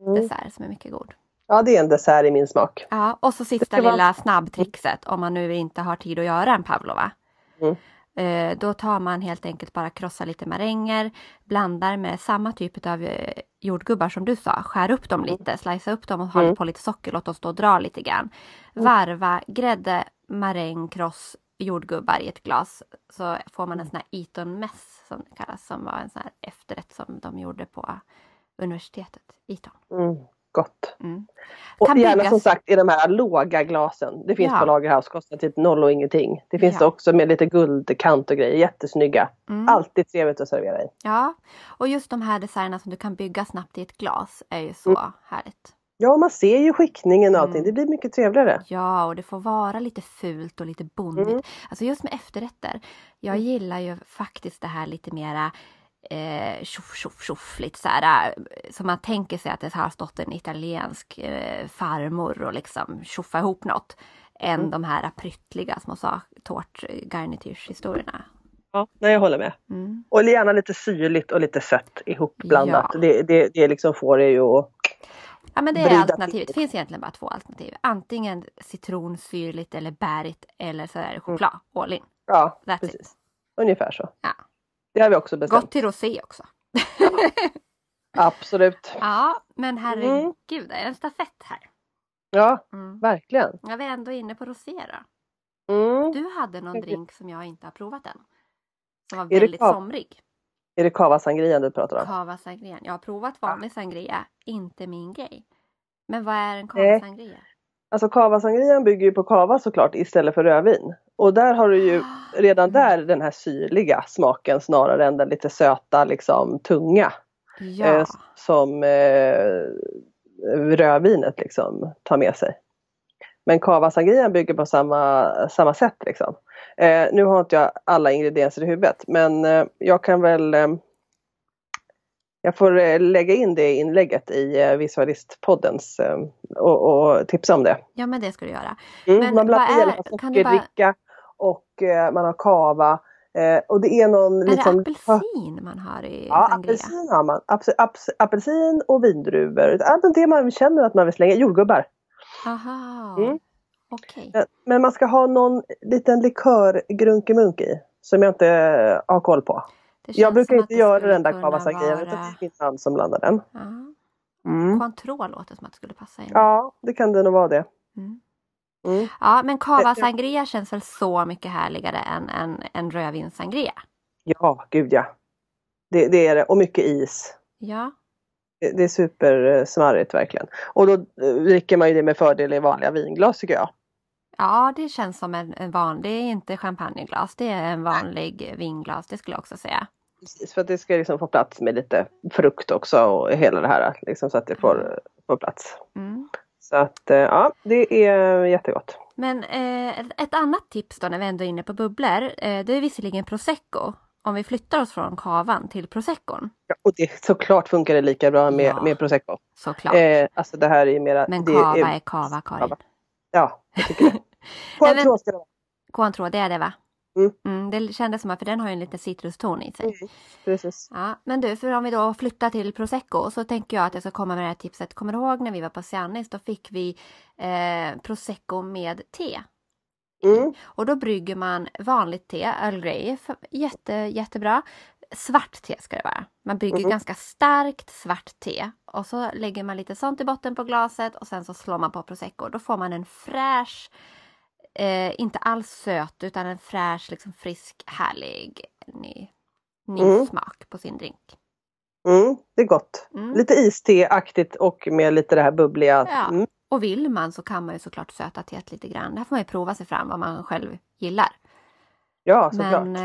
B: Mm.
A: dessert som är mycket god.
B: Ja, det är en dessert i min smak.
A: Ja, och så sista
B: ska vara-
A: lilla snabbtrixet om man nu inte har tid att göra en pavlova.
B: Mm.
A: Eh, Då tar man helt enkelt bara krossa lite maränger, blandar med samma typ av jordgubbar som du sa, skär upp dem lite, slicea upp dem och ha
B: Mm.
A: på lite socker, låt dem stå och dra lite grann. Varva grädde, maräng, kross, jordgubbar i ett glas så får
B: Mm.
A: man en sån här Eton mess som det kallas, som var en sån här efterrätt som de gjorde på universitetet, Eton.
B: Mm. Gott.
A: Mm.
B: Och
A: Kan
B: gärna
A: byggas-
B: som sagt i de här låga glasen. Det finns
A: Ja.
B: på Lagerhaus, kostar typ noll och ingenting. Det finns
A: Ja.
B: också med lite guldkant och grejer, jättesnygga.
A: Mm.
B: Alltid trevligt att servera i.
A: Ja, och just de här desserterna som du kan bygga snabbt i ett glas är ju så
B: Mm.
A: härligt.
B: Ja, man ser ju skickningen och allting.
A: Mm.
B: Det blir mycket trevligare.
A: Ja, och det får vara lite fult och lite bondigt.
B: Mm.
A: Alltså just med efterrätter. Jag gillar ju faktiskt det här lite mera eh, tjoff, tjoff, tjoff, lite så här. eh, Som man tänker sig att det har stått en italiensk eh, farmor och liksom tjoffa ihop något. Än
B: Mm.
A: de här pryttliga små sak- tårtgarnityrshistorierna.
B: Ja, nej, jag håller med.
A: Mm.
B: Och gärna lite syrligt och lite sött ihopblandat.
A: Ja.
B: Det, det, det liksom får det ju att...
A: Ja men det är
B: Bryta
A: alternativet. Det finns egentligen bara två alternativ. Antingen citron, syrligt eller bärigt eller så är det choklad. All in.
B: Ja,
A: That's
B: Mm. Precis.
A: it.
B: ungefär så.
A: Ja.
B: Det har vi också bestämt.
A: Gott till rosé också.
B: Absolut.
A: Ja, men
B: Mm.
A: herregud, det är en stafett här.
B: Ja,
A: Mm.
B: verkligen.
A: Ja, vi är ändå inne på rosé då.
B: Mm.
A: Du hade någon
B: Okej.
A: drink som jag inte har provat än. Som var
B: det
A: väldigt
B: kava?
A: somrig.
B: Är det cava sangrian du pratar om?
A: Cava sangria. Jag har provat vanlig sangria, inte min grej. Men vad är en
B: Nej.
A: cava sangria?
B: Alltså cava sangrian bygger ju på cava såklart istället för rödvin. Och där har du ju redan där den här syrliga smaken snarare än den lite söta liksom tunga. eh,
A: Ja,
B: s- som eh, rödvinet liksom tar med sig. Men cava sangrian bygger på samma, samma sätt liksom. Eh, nu har inte jag alla ingredienser i huvudet men eh, jag kan väl eh, jag får eh, lägga in det inlägget i eh, Visualistpoddens eh, och, och tipsa om det.
A: ja men det ska du göra.
B: Mm,
A: Men
B: man blandar
A: vad
B: i
A: är-
B: alla fall
A: kan du bara-
B: sockerdricka och eh, man har kava. Eh, och det är någon
A: Är det
B: liksom...
A: apelsin man har i
B: Ja,
A: sangria?
B: apelsin har man. Apelsin, apelsin och vindruvor. Ja, men Det man känner att man vill slänga. Jordgubbar.
A: Aha,
B: Mm.
A: okej.
B: Men- Men man ska ha någon liten likörgrunkemunk i. Som jag inte eh, har koll på.
A: Det
B: Jag
A: känns
B: brukar
A: som att
B: inte
A: det
B: göra
A: skulle
B: den där
A: kunna
B: kawasaki-grejen.
A: vara-
B: Utan det är min man som blandar den.
A: Ja.
B: Mm.
A: Cointreau låter som att det skulle passa in.
B: Ja, det kan det nog vara det.
A: Mm.
B: Mm.
A: Ja, men cava
B: Jag-
A: sangria känns väl så mycket härligare än en, en rödvinssangria?
B: Ja, gud ja. Det, det är det. Och mycket is.
A: Ja,
B: Det- Det är supersmarrigt verkligen. Och då eh, dricker man ju det med fördel i vanliga vinglas tycker jag.
A: ja det känns som en, en vanlig, det är inte champagneglas, det är en vanlig vinglas, det skulle jag också säga.
B: Precis, för att det ska liksom få plats med lite frukt också och hela det här. Liksom, så att det får, får plats.
A: Mm.
B: Så att eh, ja, det är jättegott.
A: Men eh, ett- ett annat tips då när vi ändå är inne på bubblor, eh, det är visserligen prosecco. Om vi flyttar oss från kavan till proseccon,
B: Ja, Och det, såklart funkar det lika bra med,
A: Ja,
B: med prosecco.
A: såklart.
B: Eh, alltså det här är ju mera...
A: men
B: det
A: kava
B: är,
A: är kava, Karin.
B: Kava. Ja, jag tycker det. Cointreau ska det vara.
A: Cointreau, det är det va?
B: Mm.
A: det kändes som att, för den har ju en liten citruston i sig.
B: Precis.
A: Ja, men du, för om vi då flyttar till prosecco så tänker jag att jag ska komma med det här tipset. Kommer du ihåg när vi var på Cianis? Då fick vi eh, prosecco med te.
B: Mm.
A: Och då brygger man vanligt te, Earl Grey, är f- jätte, jättebra. Svart te ska det vara. Man brygger
B: Mhm.
A: ganska starkt svart te och så lägger man lite sånt i botten på glaset och sen så slår man på prosecco. Då får man en fräsch, eh, inte alls söt utan en fräsch, liksom frisk, härlig, ny, ny
B: Mm.
A: smak på sin drink.
B: Mm, det är gott.
A: Mm.
B: Lite iste-aktigt och med lite det här bubbliga.
A: Ja.
B: Mm.
A: Och vill man så kan man ju såklart söta teet lite grann. Där får man ju prova sig fram vad man själv gillar.
B: ja såklart.
A: Men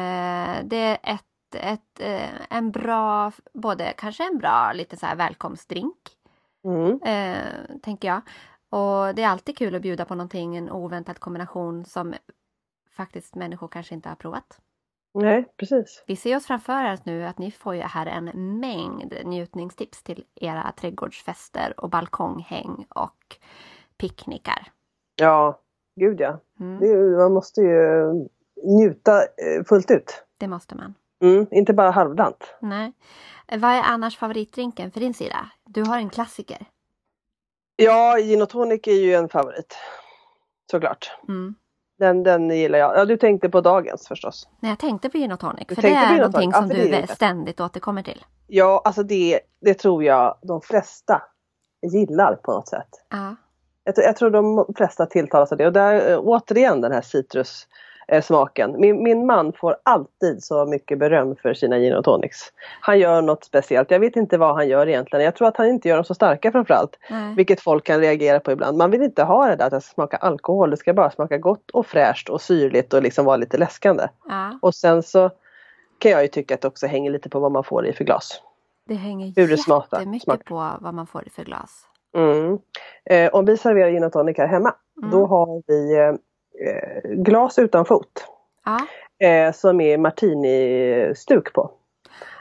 A: eh, det är ett, ett, eh, en bra, både kanske en bra lite så här välkomstdrink,
B: Mm.
A: eh, tänker jag. Och det är alltid kul att bjuda på någonting, en oväntad kombination som faktiskt människor kanske inte har provat.
B: Nej, precis.
A: Vi ser oss framför oss nu att ni får ju här en mängd njutningstips till era trädgårdsfester och balkonghäng och picknickar.
B: Ja, gud ja.
A: Mm,
B: Det, är ju- man måste ju njuta eh, fullt ut.
A: det måste man.
B: Mm, inte bara halvdant.
A: Nej. Vad är annars favoritdrinken för din sida? Du har en klassiker.
B: Ja, gin och tonic är ju en favorit. Såklart.
A: Mm.
B: Den, den gillar jag. Ja, du tänkte på dagens förstås.
A: Nej, jag tänkte på gin och tonic.
B: Du
A: För det
B: tänkte på
A: är
B: gin och tonic.
A: någonting
B: Ja,
A: som
B: för
A: du
B: det är det.
A: ständigt återkommer till.
B: Ja, alltså det, det tror jag de flesta gillar på något sätt.
A: Ja.
B: Jag, tror- jag tror de flesta tilltalas av det. Och där eh, återigen den här citrus eh, smaken. Min, min man får alltid så mycket beröm för sina gin och tonics. Han gör något speciellt. Jag vet inte vad han gör egentligen. Jag tror att han inte gör dem så starka framförallt.
A: Nej.
B: Vilket folk kan reagera på ibland. Man vill inte ha det där att det ska smaka alkohol. Det ska bara smaka gott och fräscht och syrligt och liksom vara lite läskande.
A: ja.
B: Och sen så kan jag ju tycka att det också hänger lite på vad man får i för glas.
A: Det hänger
B: Hur det smakar-
A: jättemycket
B: smakar.
A: på vad man får i för glas.
B: Mm. Eh, om vi serverar gin och tonic här hemma
A: Mm.
B: då har vi eh, eh, glas utan fot
A: Ja.
B: eh, som är martini-stuk på.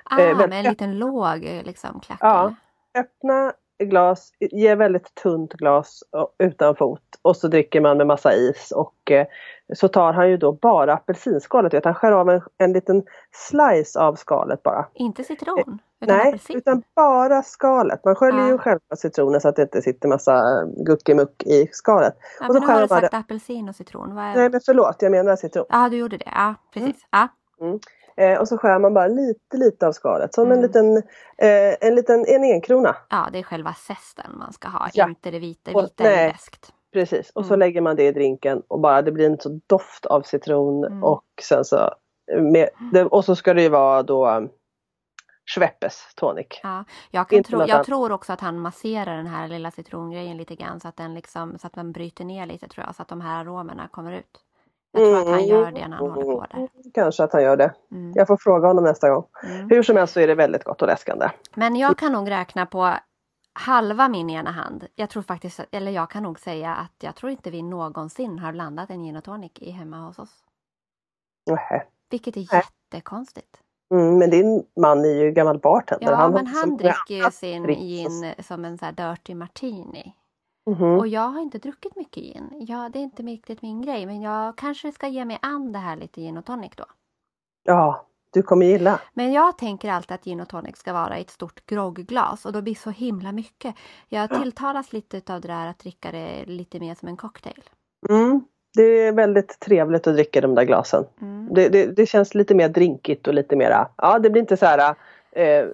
A: Ah,
B: Eh, men-
A: med en liten låg eh, liksom, klack.
B: Ja. Öppna glas, ge väldigt tunt glas och- utan fot och så dricker man med massa is och eh, så tar han ju då bara apelsinskalet, vet, han skär av en, en liten slice av skalet bara.
A: Inte citron, utan
B: Eh, Nej,
A: apelsin. Ah.
B: utan bara skalet. Man sköljer
A: Ja.
B: ju själva citronen så att det inte sitter massa guckimuck i skalet.
A: Ja,
B: och så
A: men nu
B: skär
A: har du
B: man bara-
A: sagt apelsin och citron. Vad är...
B: Nej men förlåt, jag menar citron.
A: Ja, du gjorde det. Ja, precis. Ja.
B: Mm. Eh, och så skär man bara lite, lite av skalet. Som
A: Mm.
B: en liten, eh, en liten en enkrona.
A: Ja, det är själva zesten man ska ha,
B: Ja.
A: inte det vita.
B: Och-
A: Vita är
B: nej.
A: ju bäst.
B: Precis, och så
A: Mm.
B: lägger man det i drinken och bara det blir en så doft av citron
A: Mm.
B: och sen så eh, med, det, och så ska det ju vara då um, Schweppes tonic.
A: Ja, jag, kan
B: Inte
A: tro,
B: något
A: jag
B: annat.
A: tror också att han masserar den här lilla citrongrejen lite grann så att, den liksom, så att man bryter ner lite tror jag, så att de här aromerna kommer ut. Jag tror att han gör det när han håller på där.
B: Mm. Kanske att han gör det.
A: Mm,
B: Jag får fråga honom nästa gång.
A: mm.
B: Hur som helst så är det väldigt gott och läskande.
A: Men jag kan nog räkna på halva min ena hand. Jag tror faktiskt, eller jag kan nog säga att jag tror inte vi någonsin har blandat en gin och tonic i hemma hos oss.
B: Nähä.
A: Vilket är
B: Nej.
A: jättekonstigt.
B: Mm, men din man är ju gammal bartender.
A: Ja,
B: har
A: men
B: också-
A: han dricker ju sin
B: dricks.
A: gin som en så här dirty martini.
B: Mhm.
A: Och jag har inte druckit mycket gin. Ja, det är inte riktigt min grej, men jag kanske ska ge mig an det här lite gin och tonic då.
B: Ja, du kommer gilla.
A: Men jag tänker alltid att gin och tonic ska vara i ett stort groggglas och då blir det så himla mycket. Jag tilltalas lite av det där att dricka det lite mer som en cocktail.
B: Mm. Det är väldigt trevligt att dricka de där glasen.
A: Mm.
B: Det, det, det känns lite mer drinkigt och lite mera, ja det blir inte så här eh,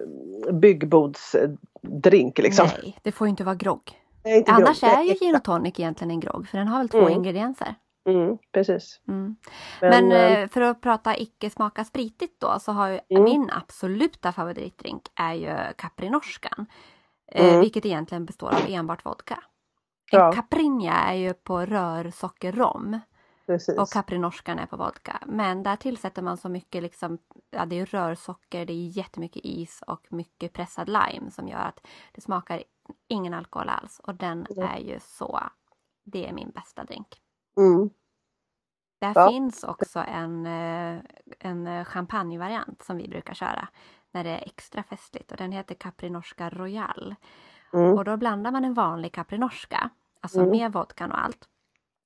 B: byggbodsdrink liksom.
A: Nej, det får ju inte vara grogg.
B: Nej, inte
A: Annars
B: grogg.
A: är ju gin och tonic egentligen en grogg, för den har väl två
B: Mm.
A: ingredienser.
B: Mm, precis.
A: Mm.
B: Men,
A: Men
B: eh,
A: eh, för att prata icke smaka spritigt då så har ju
B: Mm.
A: min absoluta favoritdrink är ju Caprinorskan. eh,
B: Mm.
A: Vilket egentligen består av enbart vodka. En
B: Ja.
A: Caprinja är ju på rörsockerrom
B: precis.
A: och Caprinorskan är på vodka. Men där tillsätter man så mycket liksom, ja det är ju rörsocker, det är jättemycket is och mycket pressad lime som gör att det smakar ingen alkohol alls. Och den
B: Mm.
A: är ju så, det är min bästa drink.
B: mm.
A: Där
B: Ja.
A: finns också en, eh, en eh, champagnevariant som vi brukar köra när det är extra festligt och den heter Caprinorska Royal.
B: Mm.
A: Och då blandar man en vanlig Caprinorska, alltså
B: Mm.
A: med vodkan och allt.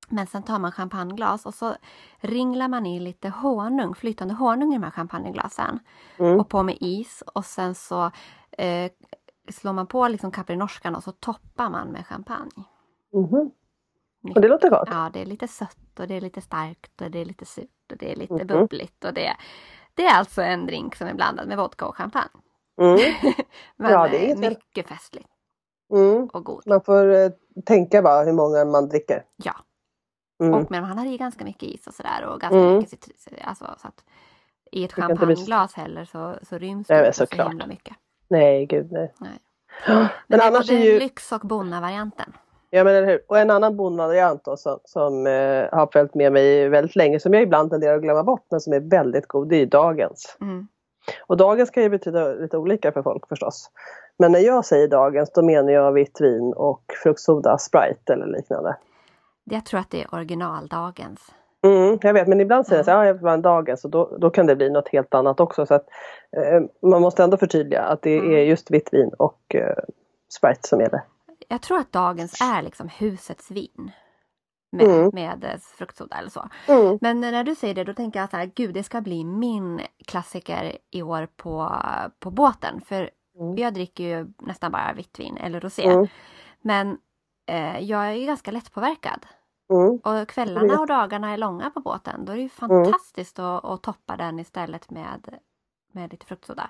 A: Men sen tar man champagneglas och så ringlar man i lite honung, flytande honung i de här champagneglasen
B: Mm.
A: och på med is och sen så eh, slår man på liksom Caprinorskan och så toppar man med champagne.
B: Mhm. Och det låter gott.
A: Ja, det är lite sött och det är lite starkt och det är lite surt och det är lite
B: Mhm.
A: bubbligt och det, det är alltså en drink som är blandad med vodka och champagne.
B: Mm.
A: Men
B: Ja, det är
A: eh,
B: inget fel.
A: mycket festlig
B: Mm.
A: och god.
B: Man får eh, tänka bara hur många man dricker.
A: Ja,
B: Mm.
A: och men han har i ganska mycket is och sådär och ganska
B: Mm.
A: mycket citris. Alltså, så att I ett
B: Det kan inte bli-
A: champagneglas heller så, så ryms
B: Nej,
A: det
B: men
A: inte så
B: såklart.
A: himla mycket.
B: Nej, gud nej.
A: Nej.
B: Ja, Men
A: det
B: annars är
A: både
B: ju
A: lyx och bonnavarianten.
B: Ja men eller hur. Och en annan bondvariant då som, som eh, har följt med mig väldigt länge som jag ibland tenderar att glömma bort men som är väldigt god det är ju dagens.
A: Mm.
B: Och dagens kan ju betyda lite olika för folk förstås. Men när jag säger dagens då menar jag vitt vin och fruktsoda, Sprite eller liknande.
A: Jag tror att det är originaldagens.
B: Mm, jag vet men ibland säger jag så här, ja jag vill ha en dagens och då, då kan det bli något helt annat också. Så att, eh, man måste ändå förtydliga att det
A: Mm.
B: är just vitt vin och eh, Sprite som gäller.
A: Jag tror att dagens är liksom husets vin. Med,
B: Mm.
A: med eh, fruktsoda eller så.
B: Mm.
A: Men när du säger det då tänker jag så här, gud det ska bli min klassiker i år på, på båten. För
B: Mm.
A: jag dricker ju nästan bara vitt vin eller rosé.
B: Mm.
A: Men eh, jag är ju ganska lättpåverkad.
B: Mm.
A: Och kvällarna och dagarna är långa på båten. Då är det ju fantastiskt att, att toppa den istället med, med lite fruktsoda.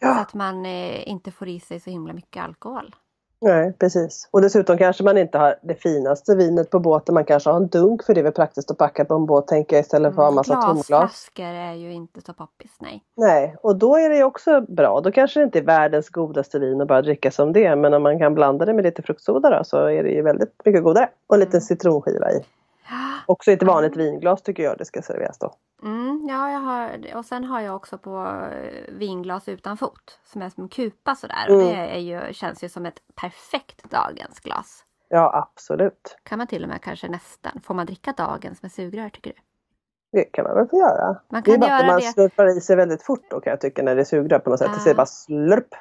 A: Så
B: Ja.
A: att man eh, inte får i sig så himla mycket alkohol.
B: Nej, precis. Och dessutom kanske man inte har det finaste vinet på båten. Man kanske har en dunk för det är väl praktiskt att packa på en båt tänker jag istället för att ha en massa tomglas.
A: Mm. Glasflaskor är ju inte så poppis, nej.
B: Nej, och då är det ju också bra. Då kanske det inte är världens godaste vin att bara dricka som det. Men om man kan blanda det med lite fruktsoda då, så är det ju väldigt mycket godare. Och en
A: Mm.
B: liten citronskiva i. Också i ett vanligt vinglas tycker jag det ska serveras då.
A: Mm, ja, jag har, och sen har jag också på eh, vinglas utan fot som är som en kupa sådär. Och
B: Mm.
A: det är ju, känns ju som ett perfekt dagens glas.
B: Ja, absolut.
A: Kan man till och med kanske nästan, får man dricka dagens med sugrör tycker du?
B: Det kan man väl få göra.
A: Man
B: Det är
A: kan
B: bara att
A: göra
B: man
A: det,
B: slurpar i sig väldigt fort då kan jag tycka när det är sugrör på något sätt. Det säger
A: Ah.
B: bara slurp.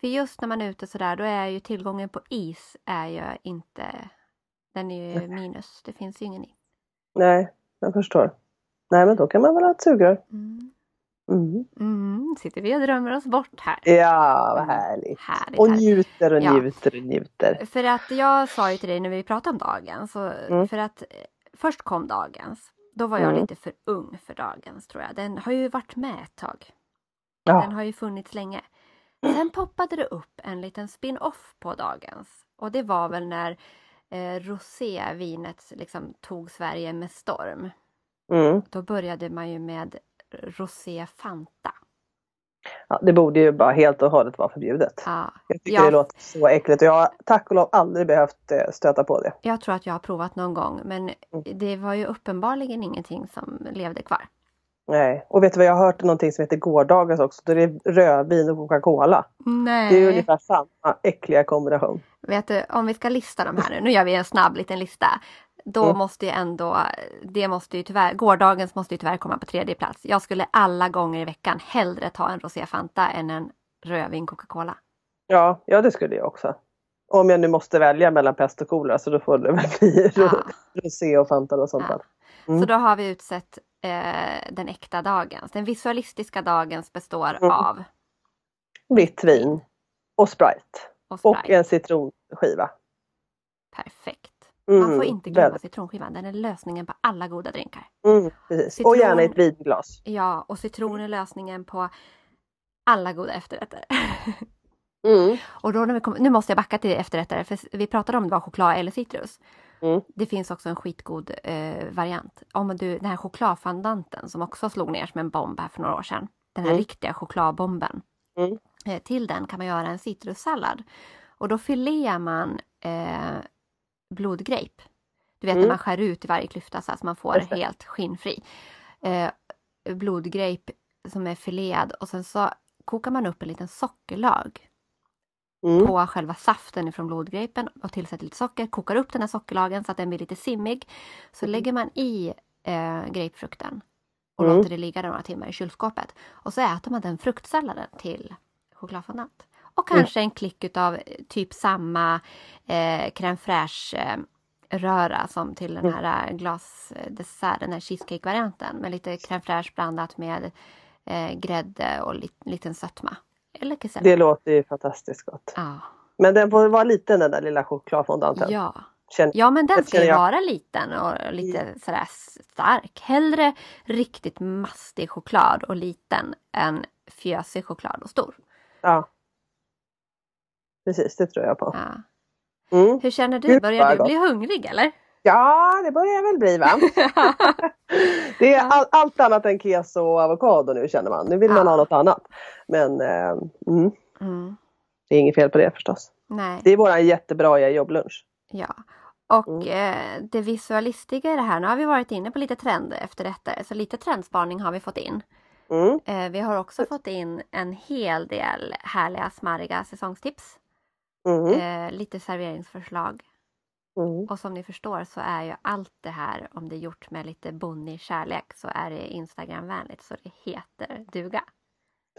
A: för just när man är ute sådär då är ju tillgången på is är ju inte, den är ju minus, det finns ju ingen is.
B: Nej, jag förstår. Nej, men då kan man väl ha ett sugrör.
A: Mm.
B: Mm.
A: Mm, sitter vi och drömmer oss bort här.
B: Ja, vad härligt.
A: Härligt,
B: Eh, Mm. Och
A: härligt.
B: njuter och
A: Ja.
B: njuter och njuter.
A: För att jag sa ju till dig när vi pratade om dagens. Så
B: Mm.
A: För att eh, först kom dagens. Då var jag
B: Mm.
A: lite för ung för dagens tror jag. Den har ju varit med ett tag.
B: Ja.
A: Den har ju funnits länge. Sen poppade det upp en liten spin-off på dagens och det var väl när eh, rosévinet liksom tog Sverige med storm.
B: Mm.
A: Då började man ju med Rosé Fanta.
B: Ja, det borde ju bara helt och hållet vara förbjudet.
A: Ja,
B: Jag tycker
A: Ja.
B: det låter så äckligt och jag har tack och lov aldrig behövt eh, stöta på det.
A: jag tror att jag har provat någon gång men
B: Mm.
A: det var ju uppenbarligen ingenting som levde kvar.
B: Nej. Och vet du vad, jag har hört någonting som heter gårdagens också. Då är det rödvin och Coca-Cola.
A: Nej.
B: Det är ju ungefär samma äckliga kombination.
A: Vet du, om vi ska lista de här nu, nu gör vi en snabb liten lista. Då
B: Mm.
A: måste ju ändå, det måste ju tyvärr, gårdagens måste ju tyvärr komma på tredje plats. Jag skulle alla gånger i veckan hellre ta en Rosé Fanta än en rödvin Coca-Cola.
B: Ja, ja det skulle jag också. Om jag nu måste välja mellan pest och kolera så då får det väl bli
A: Ja.
B: ro- rosé och Fanta och sånt
A: Ja.
B: där. Mm.
A: Så då har vi utsett eh, den äkta dagens. Den visualistiska dagens består
B: Mm.
A: av
B: Vitt vin och Sprite.
A: och
B: Och
A: Sprite.
B: en citronskiva.
A: Perfekt.
B: Mm,
A: Man får inte glömma
B: väldigt-
A: citronskivan, den är lösningen på alla goda drinkar.
B: Mm, precis.
A: Citron-
B: Och gärna i ett vinglas.
A: Ja, och citron är lösningen på alla goda efterrätter.
B: Mm.
A: Och då när vi kom, nu måste jag backa till efterrätter, för vi pratade om det var choklad eller citrus.
B: Mm.
A: Det finns också en skitgod eh, variant. Om du, den här chokladfondanten som också slog ner som en bomb här för några år sedan. Den här
B: Mm.
A: riktiga chokladbomben.
B: Mm.
A: Eh, till den kan man göra en citrussallad. Och då filear man eh, blodgrape. Du vet när
B: Mm.
A: man skär ut i varje klyfta så att man får
B: Just det.
A: helt skinnfri. Eh, blodgrape som är filead och sen så kokar man upp en liten sockerlag
B: Mm.
A: på själva saften ifrån blodgrepen och tillsätter lite socker, kokar upp den här sockerlagen så att den blir lite simmig. Så lägger man i eh, grapefrukten och
B: Mm.
A: låter det ligga där några timmar i kylskåpet. Och så äter man den fruktsalladen till chokladfondant. Och
B: Mm.
A: kanske en klick utav eh, typ samma eh, crème fraîche eh, röra som till den
B: Mm.
A: här eh, glasdesserten, den här cheesecake-varianten med lite crème fraîche blandat med eh, grädde och li- liten sötma. Eller kesel.
B: Det låter ju fantastiskt gott.
A: Ja.
B: Men den får vara liten den där lilla chokladfondanten.
A: ja.
B: Känner-
A: Ja men den
B: Jag
A: ska ju
B: känner jag- Mm.
A: vara liten och lite sådär stark. Hellre riktigt mastig choklad och liten än fjösig choklad och stor.
B: Ja. Precis, det tror jag på.
A: Ja.
B: Mm.
A: Hur känner du?
B: Gud, vad
A: Börjar du
B: gott.
A: bli hungrig eller?
B: Ja, det börjar jag väl bli va? Det är
A: Ja.
B: all, allt annat än keso och avokado nu känner man. Nu vill man
A: Ja.
B: ha något annat. Men eh, mm,
A: mm,
B: det är inget fel på det förstås.
A: nej,
B: Det Mm. är våran jättebra jobblunch.
A: ja. Och eh, det visualistiska i det här, nu har vi varit inne på lite trend efter detta, så lite trendspaning har vi fått in.
B: Mm.
A: Eh, vi har också fått in en hel del härliga smarriga säsongstips.
B: Mm.
A: Eh, lite serveringsförslag.
B: Mm.
A: Och som ni förstår så är ju allt det här, om det är gjort med lite bonnig kärlek, så är det Instagramvänligt så det heter duga.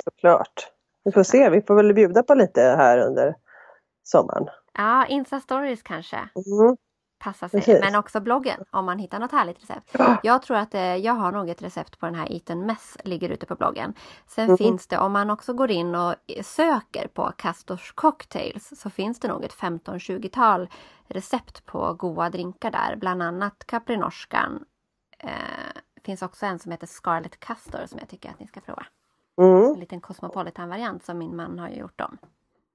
B: Såklart. Vi får se, vi får väl bjuda på lite här under sommaren.
A: Ja, Insta-stories kanske
B: Mm.
A: passar sig,
B: Precis.
A: men också bloggen om man hittar något härligt recept.
B: Ja.
A: Jag tror att eh, jag har något recept på den här Eat and Mess, ligger ute på bloggen. Sen
B: Mhm.
A: finns det, om man också går in och eh, söker på Castors Cocktails, så finns det nog ett 15-20-tal recept på goda drinkar där, bland annat Caprinorskan. Eh, finns också en som heter Scarlet Castor som jag tycker att ni ska prova.
B: Mm.
A: En liten Cosmopolitan-variant som min man har gjort om.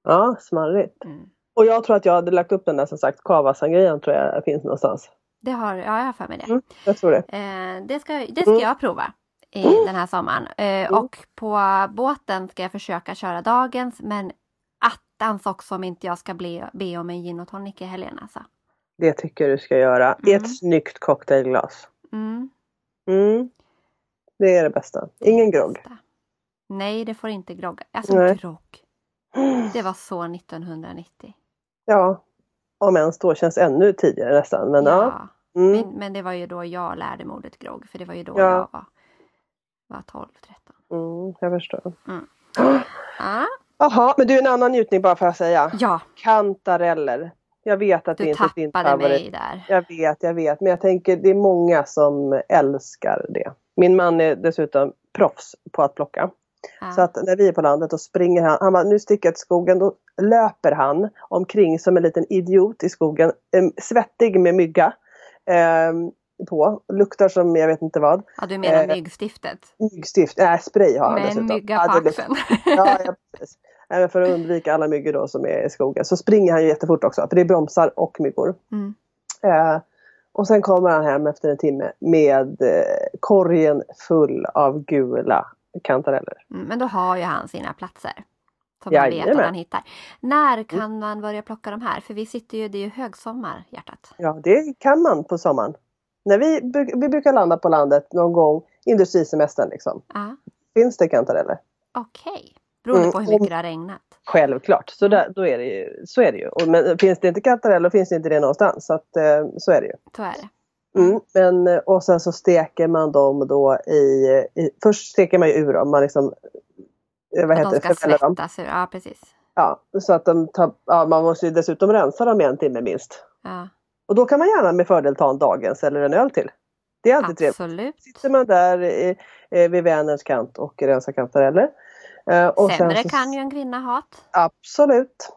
B: ja, smarrigt.
A: Mm.
B: Och jag tror att jag hade lagt upp den där som sagt, kavasangrian tror jag finns någonstans.
A: Det har, ja, jag har för mig det.
B: Mm. Jag tror det.
A: Eh, det ska, det ska
B: Mm.
A: jag prova i
B: Mm.
A: den här sommaren. Eh, Och på båten ska jag försöka köra dagens men attans också om inte jag ska bli, be om en gin och tonic i helgen alltså.
B: Det tycker jag du ska göra. I
A: Mm.
B: ett snyggt cocktailglas.
A: Mm.
B: Mm. Det är det bästa. Ingen grogg.
A: Bästa. Nej, det får inte grogga. Alltså
B: Nej.
A: grogg. Det var så 1990.
B: Ja, om ens då känns ännu tidigare nästan. Men ja. Mm.
A: Men, men det var ju då jag lärde mig ordet grogg, för det var ju då
B: Ja.
A: jag var, var 12, 13.
B: Mm, jag förstår.
A: Mm.
B: Ah.
A: Ah,
B: Jaha, men du en annan njutning bara för att säga.
A: ja,
B: Kantareller. Jag vet att det
A: du
B: inte är din
A: tappade
B: favorit.
A: mig där.
B: Jag vet, jag vet. Men jag tänker det är många som älskar det. Min man är dessutom proffs på att plocka.
A: Ja.
B: Så att när vi är på landet då springer han, han bara, nu sticker jag till skogen, då löper han omkring som en liten idiot i skogen, em, svettig med mygga. Ehm, på. Luktar som jag vet inte vad.
A: Ja, du menar
B: Eh,
A: myggstiftet?
B: Myggstift, nej spray har han
A: Med en
B: dessutom.
A: mygga
B: Ja,
A: på
B: det luktar-
A: axeln.
B: Ja, ja, precis. Även för att undvika alla myggor då som är i skogen så springer han ju jättefort också för det är bromsar och myggor.
A: Mm.
B: Eh, och sen kommer han hem efter en timme med eh, korgen full av gula kantareller.
A: Mm, Men då har ju han sina platser. Som man vet
B: Jajamän. Mm.
A: att han hittar. När kan man börja plocka de här? För vi sitter ju, det är ju högsommar, hjärtat.
B: Ja, det kan man på sommaren. När vi, bru- vi brukar landa på landet någon gång industrisemestern liksom.
A: Ja,
B: Finns det kantareller?
A: Okej. Beroende
B: Mm,
A: på hur
B: om-
A: mycket det har regnat.
B: Självklart, så, där, då är det ju, så är det ju. Och, men finns det inte kantareller finns det inte det någonstans. Så, att, eh, så är det ju.
A: Så är det.
B: Mm, men, eh, och sen så steker man dem då i, i först steker man ju ur dem, man liksom eh, vad
A: Att
B: heter
A: de
B: det,
A: ska
B: förfäller dem.
A: svettas ur. Ja, precis.
B: Ja, så att de tar, ja, man måste ju dessutom rensa dem i en timme minst.
A: Ja,
B: Och då kan man gärna med fördel ta en dagens eller en öl till. Det är alltid trevligt.
A: absolut.
B: Sitter man där i, eh, vid Vänerns kant och rensar kantareller. Eh, och sen
A: Sämre
B: så-
A: kan ju en kvinna ha det.
B: Absolut.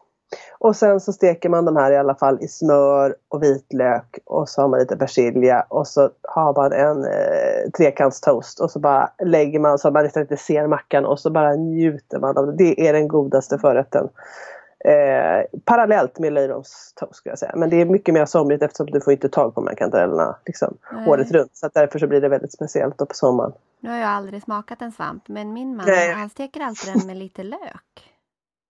B: Och sen så steker man de här i alla fall i smör och vitlök och så har man lite persilja och så har man en eh, trekantstoast och så bara lägger man så att man nästan inte ser mackan och så bara njuter man av det. Det är den godaste förrätten. Eh, parallellt med löjromstoast skulle jag säga. Men det är mycket mer somrigt eftersom du får inte tag på de här kantarellerna liksom,
A: Nej.
B: året runt. Så att därför så blir det väldigt speciellt då på sommaren.
A: Eh, Nu har jag aldrig smakat en svamp, men min man
B: Nej.
A: han steker alltid den med lite lök.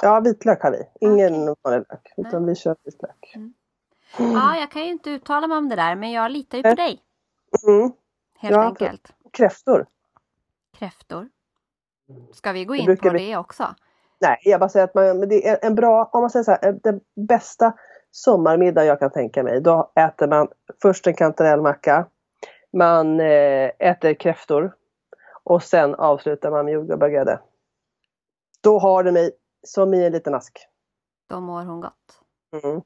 B: Ja, vitlök har vi. Ingen
A: Okej.
B: vanlig lök. Utan vi kör vitlök.
A: Ja, jag kan ju inte uttala mig om det där, men jag litar ju på
B: Mm. Nej.
A: dig.
B: Mm.
A: Helt
B: Ja,
A: enkelt.
B: Kräftor.
A: Kräftor. Ska vi gå
B: Det
A: in
B: brukar
A: på
B: vi-
A: det också?
B: Nej, jag bara säger att man, men det är en bra, om man säger så här, eh, den bästa sommarmiddagen jag kan tänka mig, då äter man först en kantarellmacka, man eh, äter kräftor och sen avslutar man med jordgubbar och grädde. Då har du mig som i en liten ask.
A: Då mår hon gott.
B: Mm.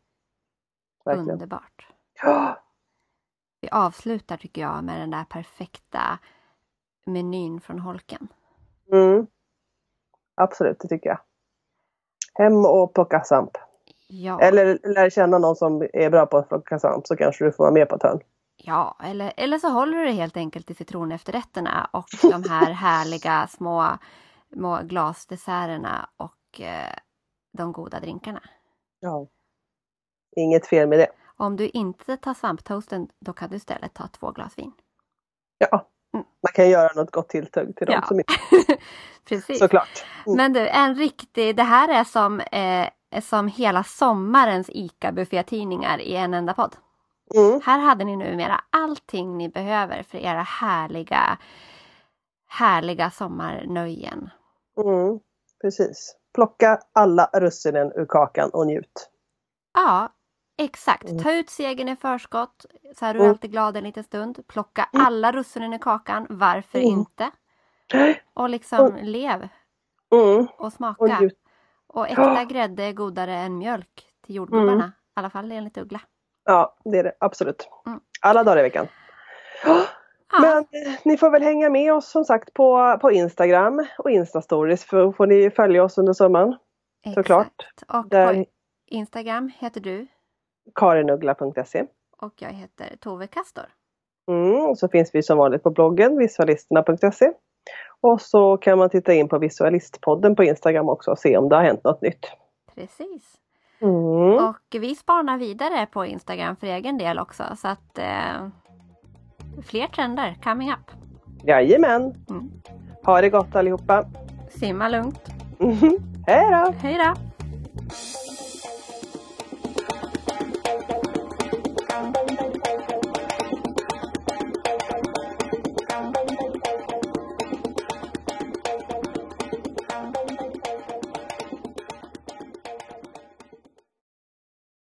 B: Verkligen.
A: Underbart.
B: Ja,
A: Vi avslutar tycker jag med den där perfekta menyn från Holken.
B: Mm. Absolut, det tycker jag. Hem och plocka svamp.
A: Ja, eller,
B: Eller lär känna någon som är bra på att plocka svamp så kanske du får vara med på ett hörn.
A: ja eller, eller så håller du det helt enkelt till citronefterrätterna och de här härliga små, små glasdesserterna och eh, de goda drinkarna.
B: Ja. Inget fel med det.
A: Om du inte tar svamptoasten, då kan du istället ta två glas vin.
B: Ja,
A: Mm.
B: man kan göra något gott tilltugg till dem
A: Ja.
B: som inte,
A: Precis.
B: såklart. Mm.
A: Men du, en riktig, det här är som, eh, som hela sommarens ICA-buffétidningar i en enda podd.
B: Mm.
A: Här hade ni numera allting ni behöver för era härliga, härliga sommarnöjen.
B: Mm. Precis. Plocka alla russinen ur kakan och njut.
A: Ja, exakt.
B: Mm.
A: Ta ut segern i förskott så är du
B: Mm.
A: alltid glad en liten stund. Plocka
B: Mm.
A: alla russinen i kakan, varför
B: Mm.
A: inte? Och liksom
B: Mm.
A: lev
B: Mm.
A: och
B: Och
A: smaka.
B: njut.
A: Och äkta grädde är godare än mjölk till jordgubbarna.
B: Mm.
A: I alla fall enligt Uggla.
B: Ja, det är det absolut.
A: Mm.
B: Alla dagar i veckan.
A: Ja,
B: Men eh, ni får väl hänga med oss som sagt på, på Instagram och Instastories för får ni följa oss under sommaren. såklart.
A: exakt. Och
B: Där
A: på Instagram heter du
B: karinuggla.se.
A: och jag heter Tove Kastor.
B: Mm, och så finns vi som vanligt på bloggen visualisterna.se. Och så kan man titta in på visualistpodden på Instagram också och se om det har hänt något nytt.
A: Precis.
B: Mm.
A: Och vi spanar vidare på Instagram för egen del också så att eh, fler trender coming up.
B: Jajamän!
A: Mm.
B: Ha det gott allihopa!
A: Simma lugnt.
B: Hej då!
A: Hej då!